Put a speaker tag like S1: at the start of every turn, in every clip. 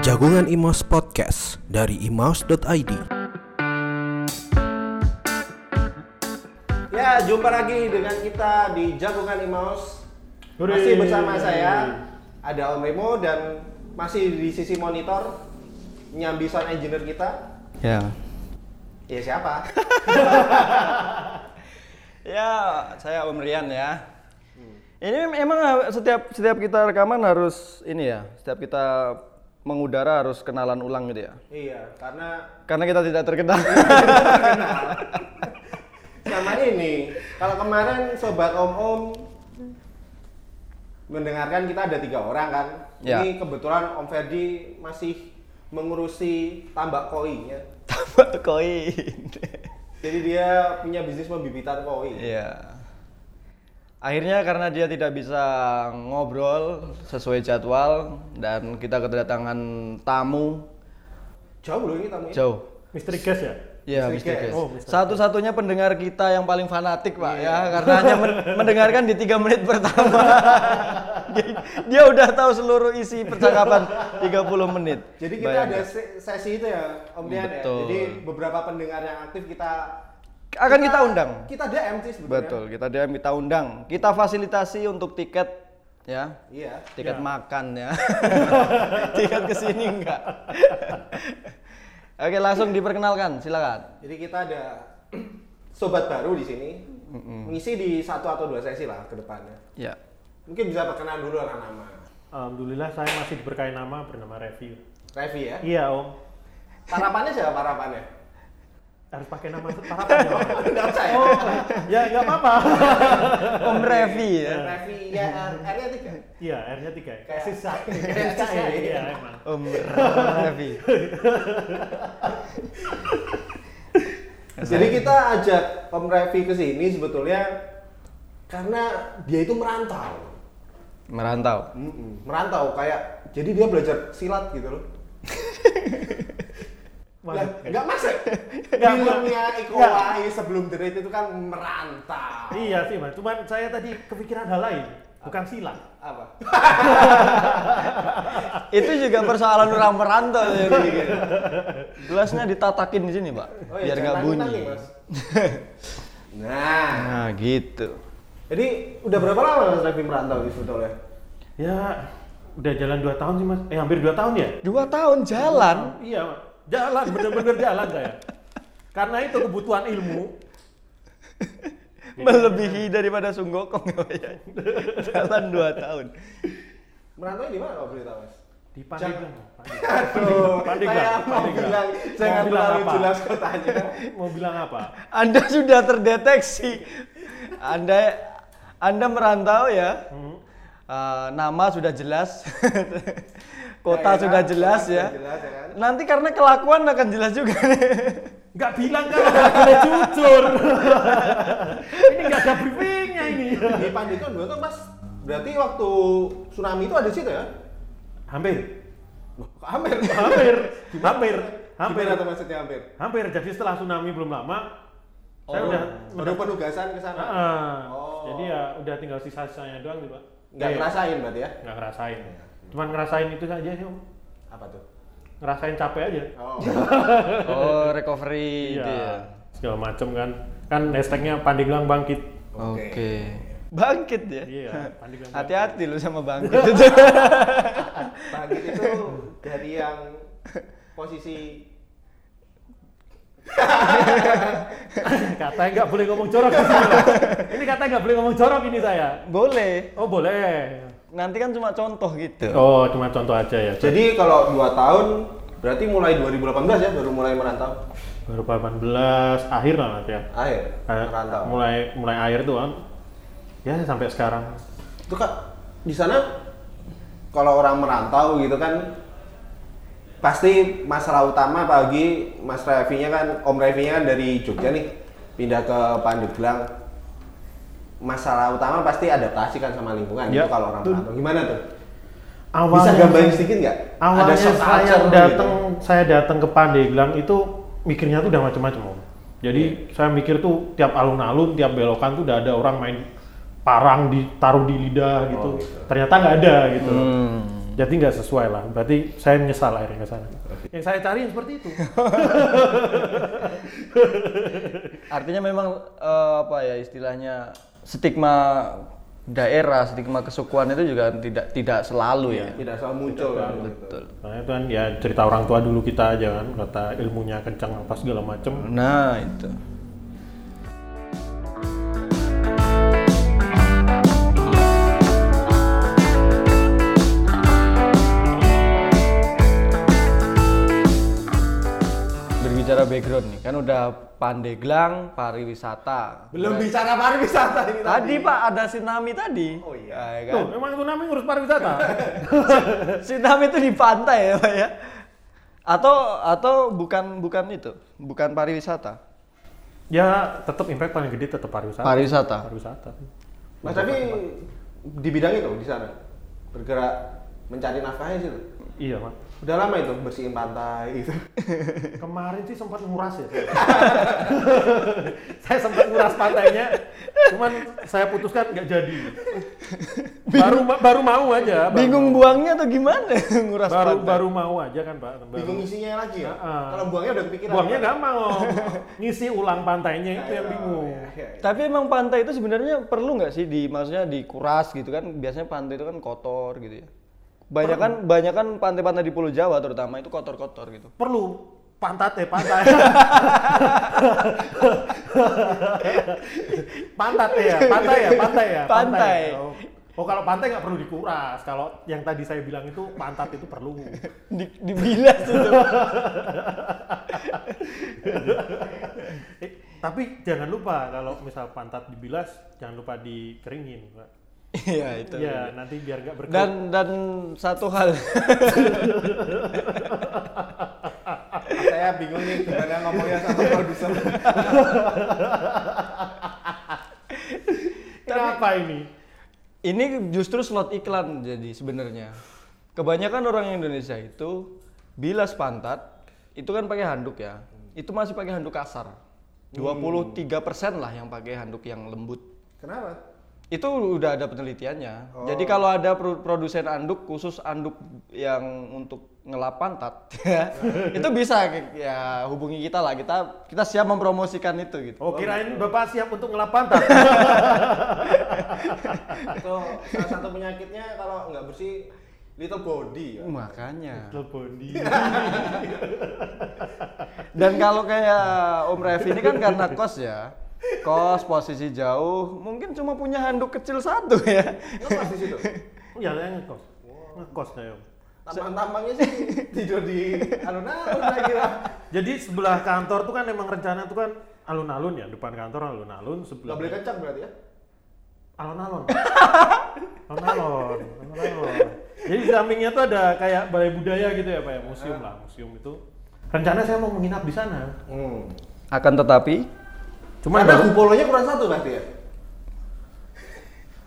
S1: Jagungan Imos Podcast dari imaus.id. Ya, jumpa lagi dengan kita di Jagungan Imaus.
S2: Hore.
S1: Masih bersama saya ada Om Remo dan masih di sisi monitor nyambi sound engineer kita.
S3: Ya.
S1: Ya siapa?
S3: Ya, saya Om Rian ya. Ini emang eh, setiap setiap kita rekaman harus ini ya, setiap kita mengudara harus kenalan ulang gitu ya.
S1: iya, karena
S3: Karena kita tidak terkenal.
S1: sama ini kalau kemarin sobat om-om mendengarkan kita ada tiga orang kan
S3: Ya.
S1: ini kebetulan om Ferdi masih mengurusi tambak koi ya
S3: Tambah koin.
S1: jadi dia punya bisnis pembibitan koi
S3: Iya. Akhirnya karena dia tidak bisa ngobrol sesuai jadwal dan kita kedatangan tamu
S1: jauh loh ini tamunya
S3: jauh.
S2: Misteri gas ya?
S3: Iya,
S1: Mr.
S3: Mr. Guest.
S2: Oh, Mr. Guest.
S3: Satu-satunya pendengar kita yang paling fanatik, Pak, ya, karena hanya men- mendengarkan di tiga menit pertama. dia, dia udah tahu seluruh isi percakapan 30 menit.
S1: jadi kita ada
S3: Bayangkan.
S1: se- sesi itu ya om Dian ya
S3: Betul.
S1: jadi beberapa pendengar yang aktif kita
S3: akan kita undang.
S1: kita DM sih sebenarnya
S3: Betul, kita dia kita undang. Kita fasilitasi untuk tiket ya.
S1: iya
S3: Tiket makan ya. tiket ke sini enggak. Oke, langsung diperkenalkan, silakan.
S1: jadi kita ada sobat baru di sini mengisi di satu atau dua sesi lah ke depannya
S3: Ya.
S1: Mungkin bisa perkenalan dulu anak nama.
S2: Alhamdulillah saya masih diberkahi nama bernama Revi.
S1: Revi ya.
S2: Iya om,
S1: Harapannya siapa harapannya?
S2: harus pakai nama parapan ya om.
S1: Enggak usah ya.
S2: ya nggak apa-apa.
S3: Om Revi ya.
S1: Revi ya R- R-nya tiga.
S2: Iya R-nya tiga. ya?
S1: Kayak
S2: Sisa.
S1: kayak
S2: Sisa ya,
S1: sisa,
S2: iya
S1: iya.
S2: emang.
S3: Om Revi.
S1: Jadi kita ajak Om Revi ke sini sebetulnya karena dia itu merantau.
S3: Merantau.
S1: Mm-mm, Merantau kayak jadi dia belajar silat gitu loh.
S2: Waduh.
S1: Lah, Nggak masuk.
S2: Nggak,
S1: Filmnya
S2: nggak.
S1: Iko Uwais sebelum The Raid itu kan merantau.
S2: Iya sih mas, cuman saya tadi kepikiran hal lain, bukan silat.
S1: Apa?
S3: Itu juga persoalan orang merantau ya kayak gitu. Gelasnya ditatakin di sini, Pak.
S1: Oh iya,
S3: biar nggak
S1: jangan
S3: bunyi.
S1: nangis, Mas. Nah,
S3: Nah, gitu.
S1: Jadi udah berapa lama Mas Revi merantau di sebetulnya?
S2: Ya udah jalan dua tahun sih mas, eh hampir dua tahun ya?
S3: Dua tahun jalan.
S2: Iya mas, jalan bener-bener jalan saya. Karena itu kebutuhan ilmu.
S3: Melebihi daripada Sunggokong ya, Pak, ya. Jalan dua tahun.
S1: Merantau di mana kalau boleh tahu Mas?
S2: Di Pandeglang. Pandeglang.
S1: Aduh,
S2: Pandeglang,
S1: saya mau
S2: Pandeglang.
S1: bilang, saya
S2: Oh, Mau
S1: nggak
S2: bilang
S1: terlalu
S2: apa?
S1: jelas kotanya.
S2: Mau bilang apa?
S3: Anda sudah terdeteksi. Anda Anda merantau ya. Eh, nama sudah jelas. Kota
S1: Daerah,
S3: sudah jelas
S1: kota
S3: ya.
S1: sudah jelas, ya kan?
S3: Nanti karena kelakuan akan jelas juga.
S2: Nggak bilang kan nggak boleh jujur. ini nggak ada briefingnya ini.
S1: Di Pandeglang dulu tuh Mas, berarti waktu tsunami itu ada di situ ya?
S2: Hampir,
S1: Loh, Hampir,
S2: hampir, hampir, hampir,
S1: hampir atau maksudnya hampir?
S2: hampir. Jadi setelah tsunami belum lama, saya udah,
S1: Baru penugasan ke
S2: Ah,
S1: sana.
S2: ah.
S1: Oh.
S2: jadi ya udah tinggal sisa-sisanya doang nih pak.
S1: Nggak
S2: Eh,
S1: ngerasain berarti ya?
S2: nggak ngerasain. Cuman ngerasain itu saja sih om.
S1: Apa tuh?
S2: Ngerasain capek aja.
S1: Oh,
S3: Oh, recovery
S2: Iya.
S3: itu ya.
S2: Segala macem kan. Kan hashtagnya Pandeglang bangkit.
S3: Oke. Bangkit ya.
S2: Iya, Pandeglang. Bangkit.
S3: Hati-hati lu sama bangkit.
S1: Bangkit itu dari yang posisi
S2: katanya nggak boleh ngomong jorok. di sini, Pak. ini katanya nggak boleh ngomong jorok ini saya.
S3: Boleh.
S2: Oh boleh.
S3: Nanti kan cuma contoh gitu.
S2: Oh, cuma contoh aja ya. Jadi
S1: Jadi kalau 2 tahun berarti mulai 2018 ya baru mulai merantau.
S2: baru 18 akhir lah nanti ya.
S1: Akhir
S2: Eh,
S1: merantau.
S2: Mulai mulai akhir tuh kan. Ya sampai sekarang.
S1: Itu Kak, di sana kalau orang merantau gitu kan pasti masalah utama pagi Mas Revi-nya kan Om Revi-nya kan dari Jogja nih pindah ke Pandeglang. Masalah utama pasti adaptasi kan sama lingkungan itu
S2: Ya,
S1: kalau orang
S2: betul.
S1: merantau. Gimana tuh? Bisa
S2: Awalnya
S1: gambarin sedikit nggak?
S2: awalnya
S1: shock
S2: saya
S1: culture
S2: datang
S1: gitu.
S2: saya datang ke Pandeglang itu mikirnya tuh udah macam-macam om. Jadi
S1: Iya.
S2: saya mikir tuh tiap alun-alun, tiap belokan tuh udah ada orang main parang ditaruh di lidah gitu.
S1: gitu. Hmm.
S2: Ternyata nggak ada gitu. Jadi nggak sesuai lah. Berarti saya menyesal akhirnya ke sana. Yang saya cari yang seperti itu.
S3: Artinya memang eh, apa ya istilahnya stigma daerah, stigma kesukuan itu juga tidak tidak selalu ya.
S1: Tidak selalu muncul. gitu.
S3: Betul.
S2: Nah itu kan ya cerita orang tua dulu kita aja kan kata ilmunya kencang apa segala macem.
S3: Nah, itu. Berbicara background nih, kan udah Pandeglang, pariwisata.
S1: Belum bicara pariwisata ini
S3: Tadi Pak ada tsunami tadi. Oh iya. kan?
S2: Tuh, memang tsunami ngurus pariwisata.
S3: Tsunami itu di pantai ya, Pak ya. Atau atau bukan bukan itu, bukan pariwisata.
S2: ya tetap impact paling gede tetap pariwisata.
S3: Pariwisata.
S2: Pariwisata.
S1: Mas Nah, tapi di bidang itu di sana bergerak mencari nafkahnya situ.
S2: Iya mas.
S1: Udah lama itu bersihin pantai gitu.
S2: Kemarin sih sempat nguras ya. saya. saya sempat nguras pantainya, cuman saya putuskan nggak jadi. Baru baru mau aja. Baru,
S3: Bingung buangnya atau gimana nguras
S2: baru
S3: pantai?
S2: baru mau aja kan pak. Baru-
S1: Bingung isinya lagi ya.
S2: Heeh.
S1: Kalau buangnya udah kepikiran.
S2: Buangnya gampang oh. Ngisi ulang pantainya itu yang bingung.
S3: Tapi emang pantai itu sebenarnya perlu nggak sih di maksudnya dikuras gitu kan? Biasanya pantai itu kan kotor gitu ya. Banyak kan banyak kan pantai-pantai di Pulau Jawa terutama itu kotor-kotor gitu.
S2: Perlu pantat eh pantai. pantat ya, pantai ya, pantai ya.
S3: Pantai.
S2: Oh. Oh kalau pantai nggak perlu dikuras. Kalau yang tadi saya bilang itu pantat itu perlu.
S3: Di, dibilas itu.
S2: Eh, tapi jangan lupa kalau misal pantat dibilas, jangan lupa dikeringin, Pak.
S3: Iya itu.
S2: Iya, nanti biar nggak berkeringat.
S3: Dan dan satu hal
S1: Saya bingung nih gimana ngomongnya sama produser.
S2: Kenapa ini?
S3: Ini justru slot iklan jadi sebenarnya. Kebanyakan orang Indonesia itu bilas pantat itu kan pakai handuk ya. Itu masih pakai handuk kasar. 23% lah yang pakai handuk yang lembut.
S1: Kenapa?
S3: Itu udah ada penelitiannya. Jadi kalau ada pro- produsen anduk khusus anduk yang untuk ngelap pantat ya, itu bisa ke- ya hubungi kita lah. Kita kita siap mempromosikan itu gitu.
S2: Oh kirain bapak siap untuk ngelap pantat.
S1: Itu salah satu penyakitnya kalau nggak bersih little body ya.
S3: Makanya.
S2: Telepon di.
S3: Dan kalau kayak Om Revi ini kan karena kos ya, kos posisi jauh, mungkin cuma punya handuk kecil satu ya.
S1: Ngepas di situ.
S2: Ya saya ngekos. Ngekos saya. Om.
S1: Tampang-tampangnya sih tidur di alun-alun lagi lah.
S2: Jadi sebelah kantor tuh kan emang rencana tuh kan alun-alun ya, depan kantor alun-alun,
S1: Nggak boleh
S2: sebelah
S1: kencang berarti ya?
S2: alun-alun. alun-alun, alun-alun. Jadi di sampingnya tuh ada kayak balai budaya gitu ya, Pak ya, museum lah, museum itu. Rencana saya mau menginap di sana.
S1: Hmm.
S3: Akan tetapi,
S2: Cuman
S1: Karena
S2: baru
S1: kupolonya kurang satu berarti ya?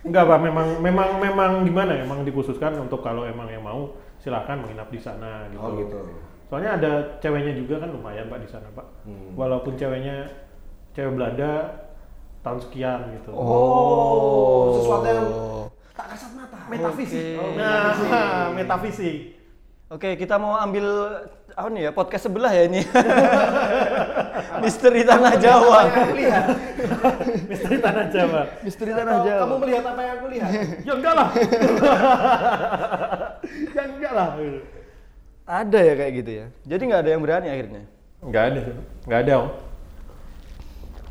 S2: enggak, Pak, memang memang memang gimana ya, memang dikhususkan untuk kalau emang yang mau silahkan menginap di sana gitu.
S1: Oh,
S2: Soalnya ada ceweknya juga kan lumayan Pak di sana, Pak.
S1: Hmm.
S2: Walaupun ceweknya cewek Belanda tahun sekian gitu.
S1: Oh, sesuatu yang tak kasat mata.
S2: metafisik.
S3: Oke.
S2: Nah, metafisik.
S3: oke kita mau ambil apa nih ya podcast sebelah ya ini, misteri tanah Jawa,
S1: Apa yang aku lihat?
S2: Misteri tanah Jawa.
S3: misteri tanah
S1: Atau
S3: Jawa.
S1: kamu melihat apa yang aku lihat?
S2: Ya enggak lah. ya enggak lah.
S3: Ada ya kayak gitu ya. Jadi nggak ada yang berani akhirnya.
S2: Enggak ada. Enggak ada, Om. Hmm.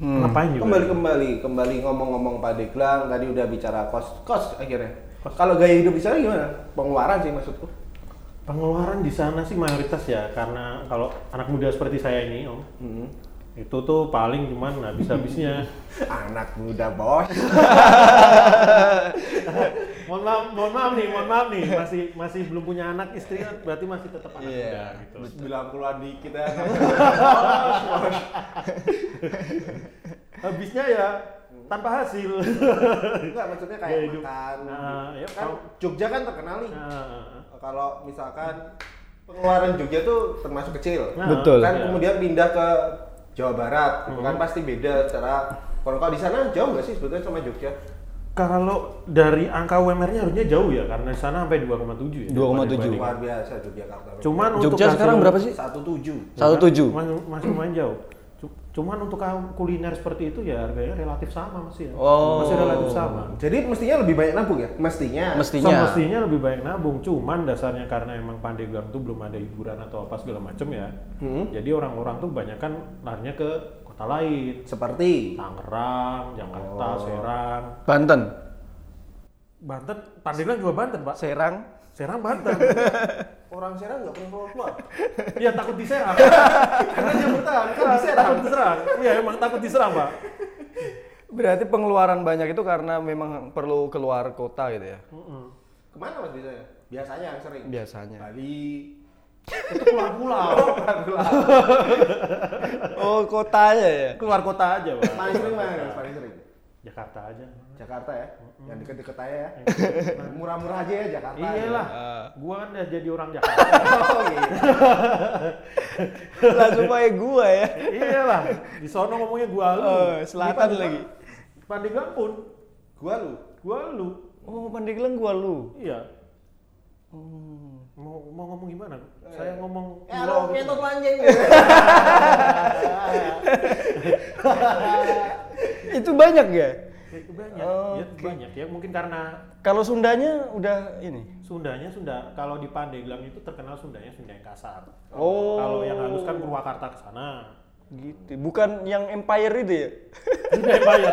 S3: Hmm.
S2: Ngapain juga?
S1: Kembali kembali kembali ngomong-ngomong Pak Deklang tadi udah bicara kos kos akhirnya. Kalau gaya hidup di sana gimana? Pengeluaran sih maksudku.
S2: Pengeluaran di sana sih mayoritas ya karena kalau anak muda seperti saya ini, Om,
S1: Hmm.
S2: itu tuh paling cuman habis-habisnya.
S1: Anak muda bos.
S2: mohon maaf, mohon maaf nih, mohon maaf nih, masih masih belum punya anak istri kan berarti masih tetap anak
S3: Iya,
S2: muda gitu.
S1: 90-an dikit ya.
S2: Habisnya ya tanpa hasil.
S1: Enggak maksudnya
S2: Gaya
S1: kayak
S2: hidup.
S1: makan.
S2: Nah, ya,
S1: kan
S2: kalau-
S1: Jogja kan terkenal nih.
S2: Nah,
S1: Kalau misalkan pengeluaran Jogja tuh termasuk kecil.
S2: Nah,
S3: Betul.
S1: kan
S2: iya.
S1: kemudian pindah ke Jawa Barat gitu kan
S2: Mhm.
S1: pasti beda cara kalau kalau di sana jauh nggak sih sebetulnya sama Jogja
S2: Kalau dari angka UMR-nya harusnya jauh ya karena di sana sampai 2,7 ya.
S3: 2,7.
S1: Luar biasa Yogyakarta.
S2: Cuman untuk
S3: Jogja sekarang berapa sih?
S1: 17.
S3: 17.
S2: Masih, masih lumayan jauh. Cu- Cuman untuk ka- kuliner seperti itu ya harganya relatif sama masih ya.
S3: Oh.
S2: Masih relatif sama.
S1: Jadi mestinya lebih banyak nabung ya? Mestinya.
S3: Mestinya.
S2: Semestinya lebih baik nabung, cuman dasarnya karena emang Pandeglang tuh belum ada hiburan atau apa segala macem ya.
S1: Hmm.
S2: Jadi orang-orang tuh banyak kan larinya ke kota lain,
S1: Seperti
S2: Tangerang, Jakarta,
S3: Oh.
S2: Serang,
S3: Banten.
S2: Banten, Pandeglang juga Banten pak.
S3: Serang.
S2: Serang Banten.
S1: orang Serang nggak pernah keluar.
S2: Iya takut diserang.
S1: Karena dia bertahan kan di Serang.
S2: takut diserang. Iya emang takut diserang pak.
S3: Berarti pengeluaran banyak itu karena memang perlu keluar kota gitu ya.
S1: Kemana mas biasanya? Biasanya yang sering.
S3: Biasanya.
S1: Bali.
S2: Itu pulang-pulang.
S3: Oh, kotanya ya.
S2: Keluar kota aja pak.
S1: Paling sering mana yang paling sering?
S2: Jakarta aja.
S1: Jakarta ya, yang deket-deket aja ya. Murah-murah aja ya Jakarta.
S2: Iyalah,
S3: Ah.
S2: gua kan udah jadi orang Jakarta.
S1: Oh, iya.
S3: Lah supaya gua ya.
S2: Iyalah, di sono ngomongnya gua lu.
S3: Oh, selatan
S2: Di Pandeglang-
S3: lagi.
S2: Pandeglang pun
S1: Gua lu.
S2: gua lu.
S3: Oh, Pandeglang gua lu.
S2: Iya. Mau, mau ngomong gimana? Saya ngomong
S1: Eh,
S2: pulau
S1: lu
S2: gitu.
S1: ngentot lanjeng.
S3: Itu banyak ya?
S2: Ya, banyak.
S3: Oh,
S2: Ya, banyak ya mungkin karena
S3: Kalau Sundanya udah ini.
S2: Sundanya Sunda. Kalau di Pandeglang itu terkenal Sundanya Sunda yang kasar.
S3: Oh.
S2: Kalau yang halus kan Purwakarta ke sana.
S3: Gitu. Bukan yang empire itu ya.
S2: Sunda yang bayar.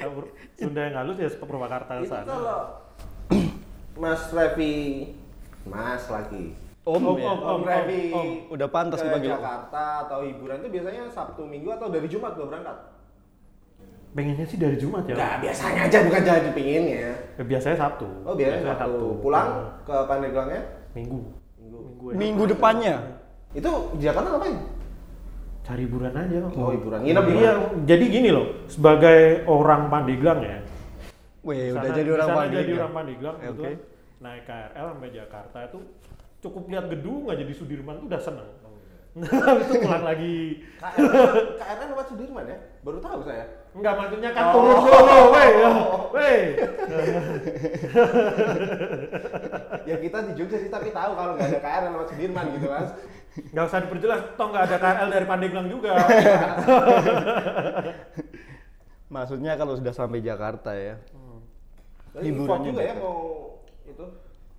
S2: Kalau Pur- Sunda yang halus ya ke Purwakarta ke
S1: Itu
S2: sana.
S1: kalau Mas Revi, Mas lagi.
S3: Om,
S2: Om,
S3: ya.
S2: om, om,
S1: Om Revi
S2: om.
S3: Udah pantas
S1: ke
S3: dipanggil Om.
S1: Jakarta atau hiburan itu biasanya Sabtu Minggu atau dari Jumat lo berangkat?
S2: Pengennya sih dari Jumat ya.
S1: Nah, biasanya aja bukan jadi pinginnya.
S2: Ya, biasanya Sabtu. Nah,
S1: Oh, biasanya Sabtu. Pulang ke Pandeglangnya?
S2: Minggu.
S1: Minggu.
S2: Minggu. ya. aja.
S3: Minggu depannya.
S1: Itu di Jakarta ngapain?
S2: Cari hiburan aja. Pak.
S1: Oh, hiburan. Nginep di
S2: Iya, jadi gini loh, sebagai orang Pandeglang ya.
S3: Weh,
S2: di
S3: udah
S2: sana-
S3: jadi
S2: di
S3: orang
S2: sana
S3: Pandeglang.
S2: Jadi orang Pandeglang
S3: Oke.
S2: kebetulan naik KRL sampai Jakarta itu cukup lihat gedung aja di Sudirman tuh udah seneng. Nah, itu pulang lagi.
S1: KRL KRL lewat Sudirman ya? Baru tahu saya.
S2: Enggak maksudnya
S1: Oh.
S2: kan turun dulu, weh. Weh.
S1: Ya kita di Jogja sih tapi tahu kalau nggak ada KRL lewat Sudirman gitu mas.
S2: Enggak usah diperjelas, toh enggak ada KRL dari Pandeglang juga.
S3: Maksudnya kalau sudah sampai Jakarta ya.
S1: Tapi
S3: Hiburannya
S1: effort juga ya
S3: dapat.
S1: mau itu.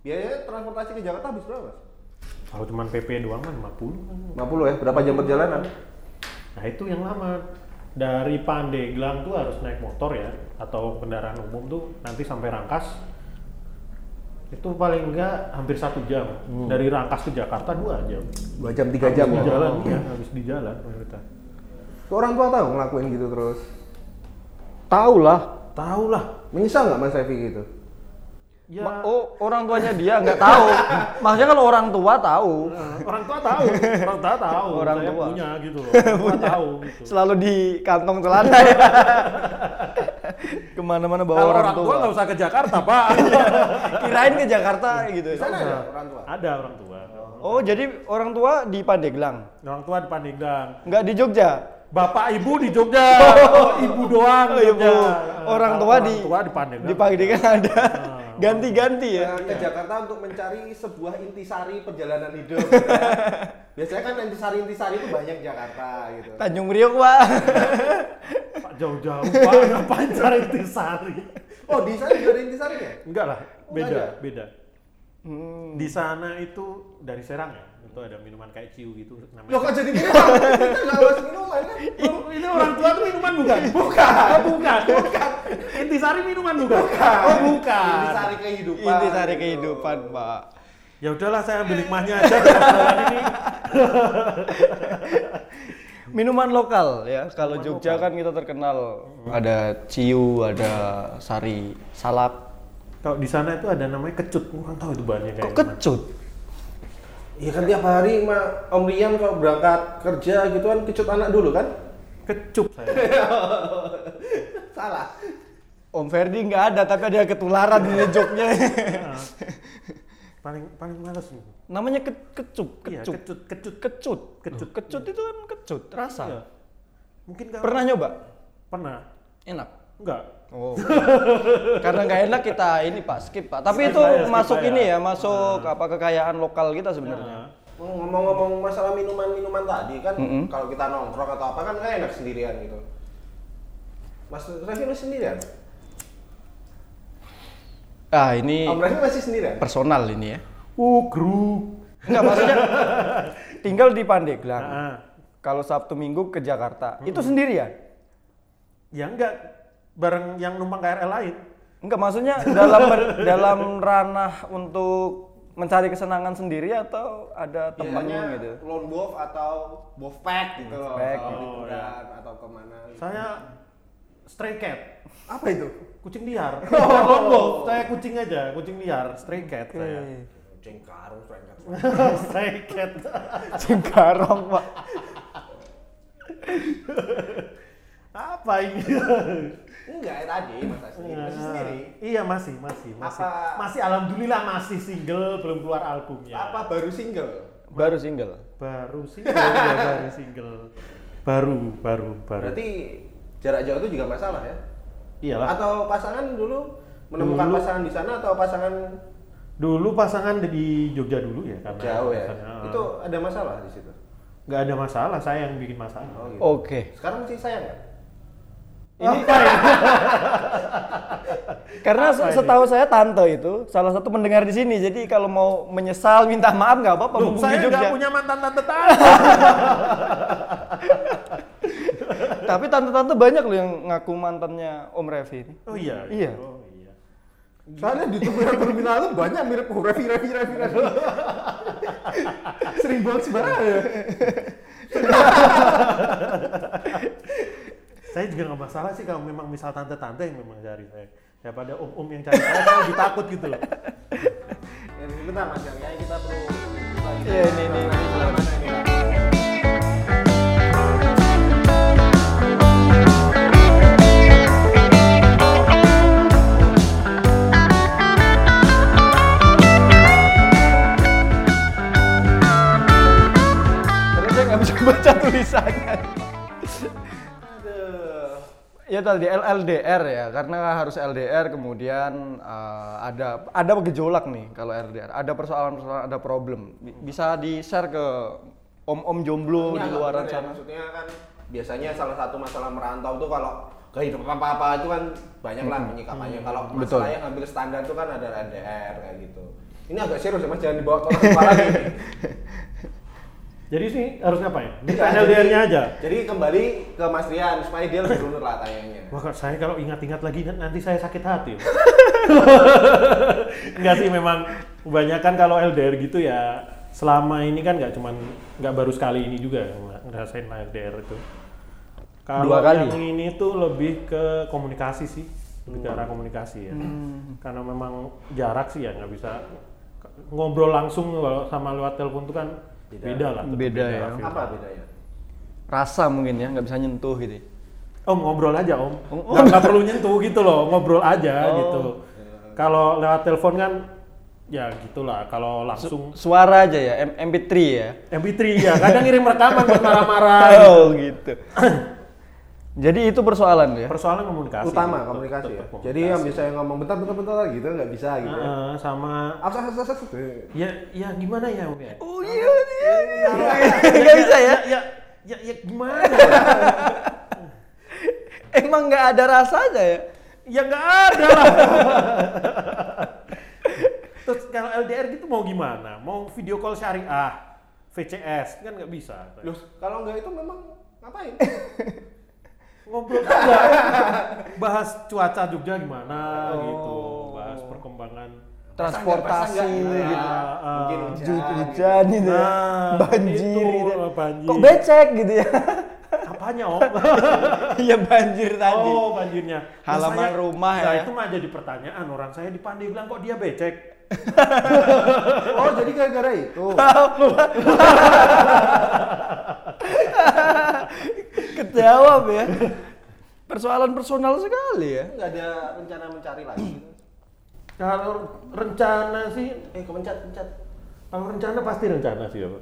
S1: Biayanya transportasi ke Jakarta habis berapa mas?
S2: Kalau cuma PP doang kan 50 kan.
S1: 50 ya? Berapa jam perjalanan?
S2: Nah itu yang lama. Dari Pandeglang tuh harus naik motor ya, atau kendaraan umum tuh nanti sampai Rangkas. Itu paling enggak hampir satu jam. Dari Rangkas ke Jakarta dua jam.
S1: 2 jam, 3 jam
S2: Di
S1: ya?
S2: jalan, ya, harus di jalan kita.
S1: Orang tua tahu ngelakuin gitu terus.
S3: Tahu lah.
S2: Tahu lah.
S1: Menyesal nggak Mas Revi gitu?
S2: Ya,
S3: Ma- Oh, orang tuanya dia nggak tahu. Maksudnya kalau orang tua tahu,
S2: eh, orang tua tahu, orang tua tahu,
S3: Orang
S2: saya
S3: tua.
S2: punya gitu loh, orang tua tahu gitu.
S3: selalu di kantong celana ya. Kemana-mana bawa
S2: Kalau
S3: orang,
S2: orang
S3: tua.
S2: tua nggak usah ke Jakarta, Pak.
S3: Kirain ke Jakarta gitu.
S1: Di
S3: ya.
S1: sana ada orang tua.
S2: Ada orang tua.
S3: Oh, jadi orang tua di Pandeglang,
S2: Orang tua di Pandeglang.
S3: nggak di Jogja.
S2: Bapak ibu di Jogja, ibu
S3: Oh,
S2: doang di
S3: iya,
S2: Jogja.
S3: Bu. Orang tua di
S2: tua di Pandeglang. Ah.
S3: Di Pandeglang ada ganti-ganti ya.
S1: Nah, ke Jakarta untuk mencari sebuah intisari perjalanan hidup. gitu ya. Biasanya kan intisari-intisari itu banyak Jakarta gitu.
S3: Tanjung Priok, Pak.
S2: Pak jauh-jauh, Pak ngapain cari Tisari?
S1: Oh, di sana juga ada intisarinya?
S2: Enggak lah,
S1: Oh,
S2: beda,
S1: ada?
S2: beda. Di sana itu dari Serang ya, itu ada minuman kayak ciu gitu
S1: Loh
S2: namanya.
S1: kok jadi minuman? Kita nggak harus minuman kan?
S2: Oh, ini orang tua tuh minuman bukan? Oh, Bukan, bukan, bukan. Intisari minuman bukan? Oh, bukan.
S1: Intisari kehidupan.
S3: Inti dari kehidupan, Pak.
S2: Ya udahlah saya ambil hikmahnya aja permasalahan ini.
S3: Minuman lokal ya. Kalau Jogja kan kita terkenal ada ciu, ada sari, salak.
S2: Kalau di sana itu ada namanya kecut, kurang tahu itu bahannya kayak
S3: Kok
S2: gimana.
S3: kecut?
S1: Iya kan tiap hari Ma, Om Rian kalau berangkat kerja gitu kan kecut anak dulu kan?
S2: Kecup saya.
S1: Salah.
S3: Om Ferdi nggak ada, tapi ada ketularan di Jogja.
S2: paling paling males nih.
S3: Namanya ke kecup,
S2: Iya,
S3: kecup.
S2: kecut, kecut.
S3: kecut,
S2: Kecut.
S3: kecut. Kecut itu kan kecut, rasa.
S2: Iya. Mungkin nggak
S3: Pernah nyoba?
S2: pernah.
S3: Enak.
S2: Enggak,
S3: Oh. Karena nggak enak kita ini Pak, skip Pak. Tapi
S2: Skip
S3: itu
S2: aja, skip
S3: masuk
S2: aja. Ah.
S3: ini ya, masuk apa kekayaan lokal kita sebenarnya.
S1: Ngomong-ngomong masalah minuman-minuman tadi kan
S3: Mm-mm.
S1: kalau kita nongkrong atau apa kan nggak enak sendirian gitu. Mas Raffi lu sendirian?
S2: Iya.
S3: Ah, ini
S1: Om Raffi masih sendirian?
S3: personal ini ya.
S2: Uh, gru.
S3: Enggak maksudnya tinggal di Pandeglang.
S2: Ah, ah.
S3: Kalau Sabtu Minggu ke Jakarta, itu sendirian.
S2: ya enggak bareng yang numpang KRL lain.
S3: Enggak maksudnya dalam dalam ranah untuk mencari kesenangan sendiri atau
S2: Iya.
S3: ada teman
S1: Biasanya
S3: gitu.
S1: Iya. lone wolf atau wolf pack gitu loh.
S3: Pack, Oh, iya.
S1: Kalau
S2: gitu.
S1: liburan atau kemana gitu.
S2: Saya stray cat,
S1: Apa itu?
S2: kucing liar. Bukan lone wolf, saya kucing aja, kucing liar, stray cat saya.
S3: Eh,
S1: Kucing karung, perangkat.
S2: stray cat.
S3: Cengkarong, Pak.
S2: Apa ini?
S1: Enggak, ya tadi Mas Asli masih sendiri.
S2: Iya, masih, masih, masih.
S1: Apa-
S2: Masih alhamdulillah masih single, belum keluar albumnya.
S1: Apa baru single?
S3: Iya. Baru single.
S2: Baru single, ya, baru single. Baru, baru, baru.
S1: Berarti jarak jauh itu juga masalah ya?
S2: Iyalah.
S1: Atau pasangan dulu menemukan
S2: Dulu.
S1: pasangan di sana atau pasangan
S2: Dulu pasangan di Jogja dulu ya karena
S1: jauh ya?
S2: pasangan-
S1: Itu ada masalah di situ.
S2: nggak ada masalah, saya yang bikin masalah.
S1: Oh, gitu.
S3: Oke.
S1: Sekarang sih sayang ya? nggak?
S3: Ini Karena
S2: Apa ini?
S3: setahu saya Tanto itu salah satu pendengar di sini. Jadi kalau mau menyesal minta maaf nggak apa-apa.
S2: Loh,
S3: mumpung di
S2: saya
S3: Jogja.
S2: nggak punya mantan tante tante.
S3: Tapi tante-tante banyak loh yang ngaku mantannya Om Revi ini.
S2: Oh iya.
S3: Iya.
S2: Oh, iya.
S1: Soalnya di terminal-terminal itu banyak mirip oh, Revi, Revi, Revi, Revi. Sering buang sembarangan ya?
S2: Saya juga nggak masalah sih kalau memang misal tante tante yang memang cari saya. Daripada om om yang cari saya, saya lebih takut gitu loh.
S1: Bentar mas, yang kayaknya kita perlu lanjut.
S3: Iya, ini, ini, ini.
S1: Karena mana ini, Mas?
S3: Karena saya nggak bisa baca tulisannya.
S1: Aduh.
S3: ya tadi LDR ya, karena harus LDR kemudian eh, ada ada gejolak nih kalau LDR. Ada persoalan-persoalan, ada problem. Bi- Bisa di-share ke om-om jomblo
S1: Ini
S3: di
S1: agak
S3: luar
S1: bener ya,
S3: sana.
S1: Maksudnya kan biasanya salah satu masalah merantau tuh kalau kehidupan apa-apa itu kan banyak lah penyikapannya. Kalau
S3: Betul.
S1: masalah yang hampir standar tuh kan ada LDR kayak gitu. Ini agak serius ya mas, jangan dibawa ke orang tua lagi.
S2: Jadi sih harus ngapain?
S3: Iya,
S2: Di
S1: Jadi-
S2: LDR-nya aja.
S1: Jadi kembali ke Mas Rian supaya dia lebih runut lah tayangnya.
S2: Wah, kok saya kalau ingat-ingat lagi n- nanti saya sakit hati. loh. Enggak sih memang kebanyakan kalau LDR gitu ya selama ini kan nggak cuman nggak baru sekali ini juga yang ngerasain LDR itu. Kalau
S3: Dua kali? Hmm.
S2: yang ini tuh lebih ke komunikasi sih, lebih ke arah komunikasi ya. Karena memang jarak sih ya nggak bisa ngobrol langsung kalau sama lewat telepon tuh kan
S1: Beda.
S2: beda lah. tetap
S3: Beda ya.
S2: lah feel.
S1: Apa bedanya?
S3: Rasa mungkin ya, nggak bisa nyentuh gitu. ya.
S2: Om ngobrol aja om,
S3: Om, om.
S2: nggak nggak perlu nyentuh gitu loh, ngobrol aja
S3: Oh.
S2: gitu. Kalau lewat telepon kan, ya gitulah. Kalau langsung
S3: Suara aja ya, M- MP3 ya.
S2: MP3 ya, kadang ngirim rekaman buat marah-marah. gitu.
S3: Oh gitu. Jadi itu persoalan ya.
S2: Persoalan komunikasi.
S1: Utama
S2: Tetep-
S1: komunikasi
S2: tetep
S1: ya.
S2: komunikasi.
S1: Jadi yang bisa yang ngomong bentar bentar bentar gitu nggak bisa gitu. ya.
S2: Heeh, sama
S1: Asas asas asas.
S2: ya ya gimana ya om ya?
S3: Oh iya iya. Gak bisa ya.
S2: Ya ya, ya gimana?
S3: Emang nggak ada rasanya ya.
S2: ya nggak ada lah. Terus kalau LDR gitu mau gimana? Mau video call ah, syariah, VCS kan nggak bisa.
S1: Loh, kalau nggak itu memang ngapain?
S2: ngobrol juga bahas cuaca Jogja gimana
S3: Oh.
S2: gitu bahas perkembangan
S3: Transportasi
S1: Pasang nggak, pasang nggak,
S3: gitu.
S1: ya.
S2: Ah,
S1: Mungkin
S2: ah.
S1: hujan,
S3: Hujan,
S1: gitu.
S3: hujan gitu ya.
S2: Nah,
S3: banjir
S2: itu,
S3: gitu.
S2: banjir.
S3: Kok becek gitu ya?
S2: apanya om
S3: Iya banjir tadi.
S2: oh banjirnya Nah,
S3: Halaman
S2: saya-
S3: rumah
S2: nah,
S3: ya.
S2: itu mah jadi pertanyaan orang saya di Pandeglang kok dia becek
S1: Oh, jadi gara-gara itu.
S3: Kejawab ya. Persoalan personal sekali ya.
S1: Nggak ada rencana mencari lagi. gitu.
S2: kalau rencana sih
S1: Eh, kemencet, kemencet.
S2: kalau rencana pasti rencana sih Om.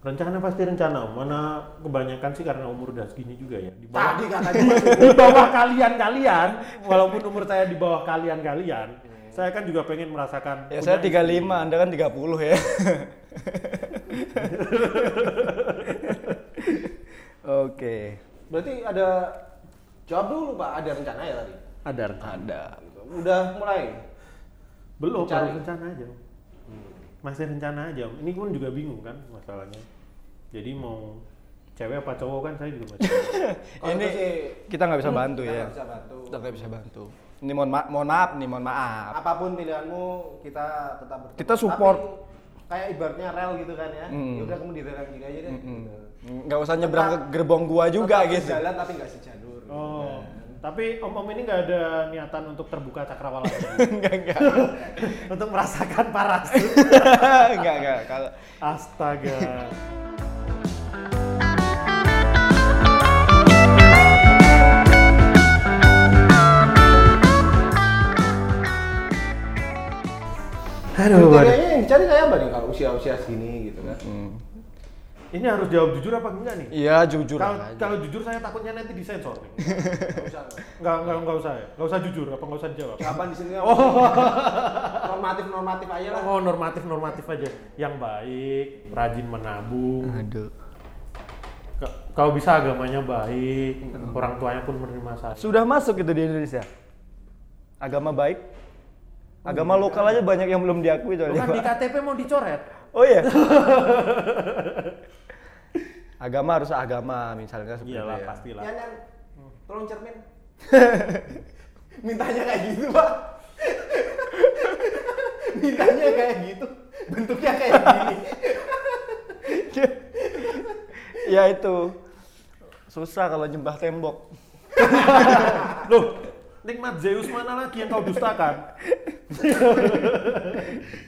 S2: Rencana pasti rencana, mana kebanyakan sih karena umur udah segini juga ya. Di bawah,
S1: Tadi katanya
S2: di bawah kalian-kalian, walaupun umur saya di bawah kalian-kalian, saya kan juga pengen merasakan.
S3: Hmm. Ya
S2: punya
S3: saya 35, Anda kan 30 ya. Oke.
S1: berarti ada jawab dulu Pak, ada rencana ya tadi.
S2: Ada rencana.
S3: Ada.
S1: Gitu. Udah mulai.
S2: Belum, Hmm.
S1: Mencari.
S2: baru rencana aja. Masih rencana aja. Ini pun juga bingung kan masalahnya. Jadi mau cewek apa cowok kan saya juga masih.
S1: Kalau
S3: Ini
S1: itu sih
S3: kita nggak bisa bantu
S1: kita
S3: ya.
S2: Iya.
S1: nggak bisa bantu.
S3: Kita nggak bisa bantu. Ini mohon, ma- mohon maaf nih, mohon maaf.
S1: apapun pilihanmu kita tetap berteman.
S3: Kita support.
S1: Tapi, kayak ibaratnya rel gitu kan ya. Ya udah kamu di rel gini aja deh. gitu.
S3: Nggak usah nyebrang ke gerbong gua juga
S1: Tetap
S3: gitu.
S1: Jalan tapi nggak sejalur. gitu.
S2: Oh, tapi om-om ini nggak ada niatan untuk terbuka cakrawala
S3: Enggak, enggak.
S2: untuk merasakan paras.
S3: Enggak, enggak. Kalau
S2: Astaga. Aduh,
S1: Kriterianya yang dicari kayak "Eh, apa nih kalau usia-usia segini gitu kan?
S2: ini harus jawab jujur apa enggak nih?
S3: iya jujur
S2: Kalau
S3: aja.
S2: kalau jujur saya takutnya nanti disensor.
S1: Nggak usah.
S2: Enggak enggak enggak usah ya. Enggak usah jujur apa enggak usah dijawab.
S1: Kapan di sini? Oh. normatif normatif aja lah.
S2: Oh, normatif normatif aja. Yang baik, rajin menabung.
S3: Aduh.
S2: Ka- Kalau bisa agamanya baik, orang tuanya pun menerima saya.
S3: Sudah masuk itu di Indonesia. Agama baik. Agama lokal aja banyak yang belum diakui soalnya.
S2: Bukan
S3: Pak.
S2: di KTP mau dicoret.
S3: Oh iya. agama harus agama misalnya seperti
S2: Iyalah
S3: itu ya.
S2: pastilah.
S1: Yan Yan, tolong cermin. Mintanya kayak gitu pak. Mintanya kayak gitu. Bentuknya kayak gini.
S3: ya itu. Susah kalau nyembah tembok.
S2: Loh, nikmat Zeus mana lagi yang kau dustakan?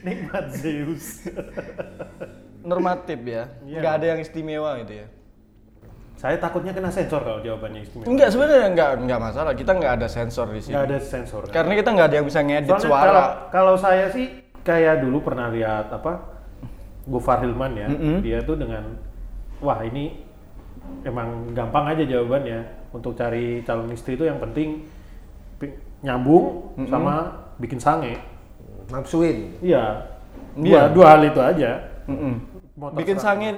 S2: nikmat Zeus.
S3: Normatif ya.
S2: Iya.
S3: Enggak ada yang istimewa gitu ya.
S2: Saya takutnya kena sensor kalau jawabannya istimewa.
S3: Enggak sebenarnya enggak enggak masalah. Kita enggak ada sensor di sini.
S2: Nggak ada sensor.
S3: Karena kita enggak ada yang bisa ngedit
S2: Soalnya
S3: suara.
S2: kalau- Kalau saya sih kayak dulu pernah lihat apa Gofar Hilman ya,
S3: Mm-mm.
S2: dia tuh dengan wah ini emang gampang aja jawabannya untuk cari calon istri itu yang penting pi- nyambung sama bikin sange.
S1: Napsuin.
S2: Iya.
S3: Iya.
S2: Dua, dua hal itu aja.
S3: Mm-mm.
S2: Mau
S3: Bikin
S2: terserah.
S3: sange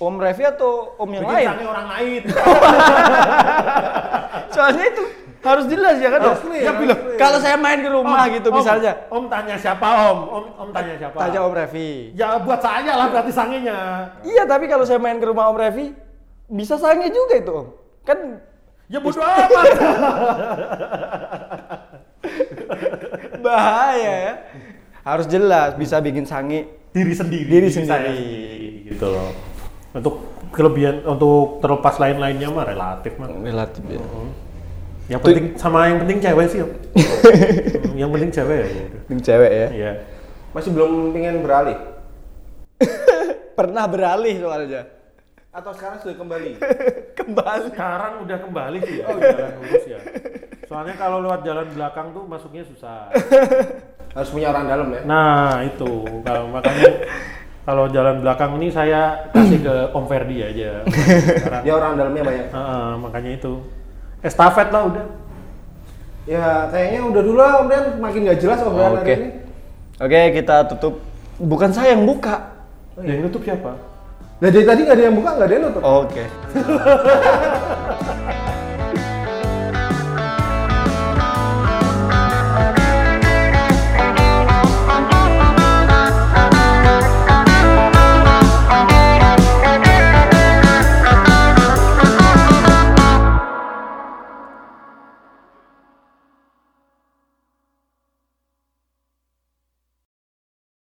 S3: Om Revi atau Om yang
S2: bikin
S3: lain?
S2: sange orang lain.
S3: Soalnya itu harus jelas ya kan?
S1: Harus
S3: Om?
S1: clear,
S3: ya
S1: harus
S3: bilang,
S1: clear.
S3: kalau saya main ke rumah
S2: Om,
S3: gitu
S2: Om,
S3: misalnya.
S2: Om tanya siapa Om? Om Om tanya siapa?
S3: Tanya Om Revi.
S2: Ya buat saya lah berarti sangenya.
S3: Iya, tapi kalau saya main ke rumah Om Revi, bisa sange juga itu, Om. Kan
S2: Ya bodo amat.
S3: bahaya ya. Harus jelas, bisa bikin sange.
S2: diri sendiri
S3: Diri
S2: saya
S3: sendiri.
S2: gitu loh untuk kelebihan untuk terlepas lain-lainnya mah relatif mah
S3: Relatif ya.
S2: yang penting sama yang penting cewek sih Om. Hmm, yang penting cewek ya gitu.
S3: Ini cewek ya.
S2: Iya.
S1: Masih belum pengen beralih?
S3: Pernah beralih soalnya.
S1: Atau sekarang sudah kembali?
S3: Kembali.
S2: sekarang udah kembali sih
S3: Oh,
S2: ya jalan
S3: iya.
S2: lurus ya soalnya kalau lewat jalan belakang tuh masuknya susah
S1: Harus punya orang dalam ya?
S2: nah itu kalau makanya kalau jalan belakang ini saya kasih ke Om Ferdi aja sekarang
S1: Dia Ya, orang dalamnya banyak.
S2: Heeh, makanya itu estafet lah udah
S1: Ya kayaknya udah dulu lah Om Rian, makin nggak jelas Om Rian
S3: Oke.
S1: hari ini.
S3: Oke, kita tutup. Bukan saya yang buka.
S2: yang nutup siapa
S1: Nah dari tadi nggak ada yang buka, nggak ada yang nutup.
S3: Oke.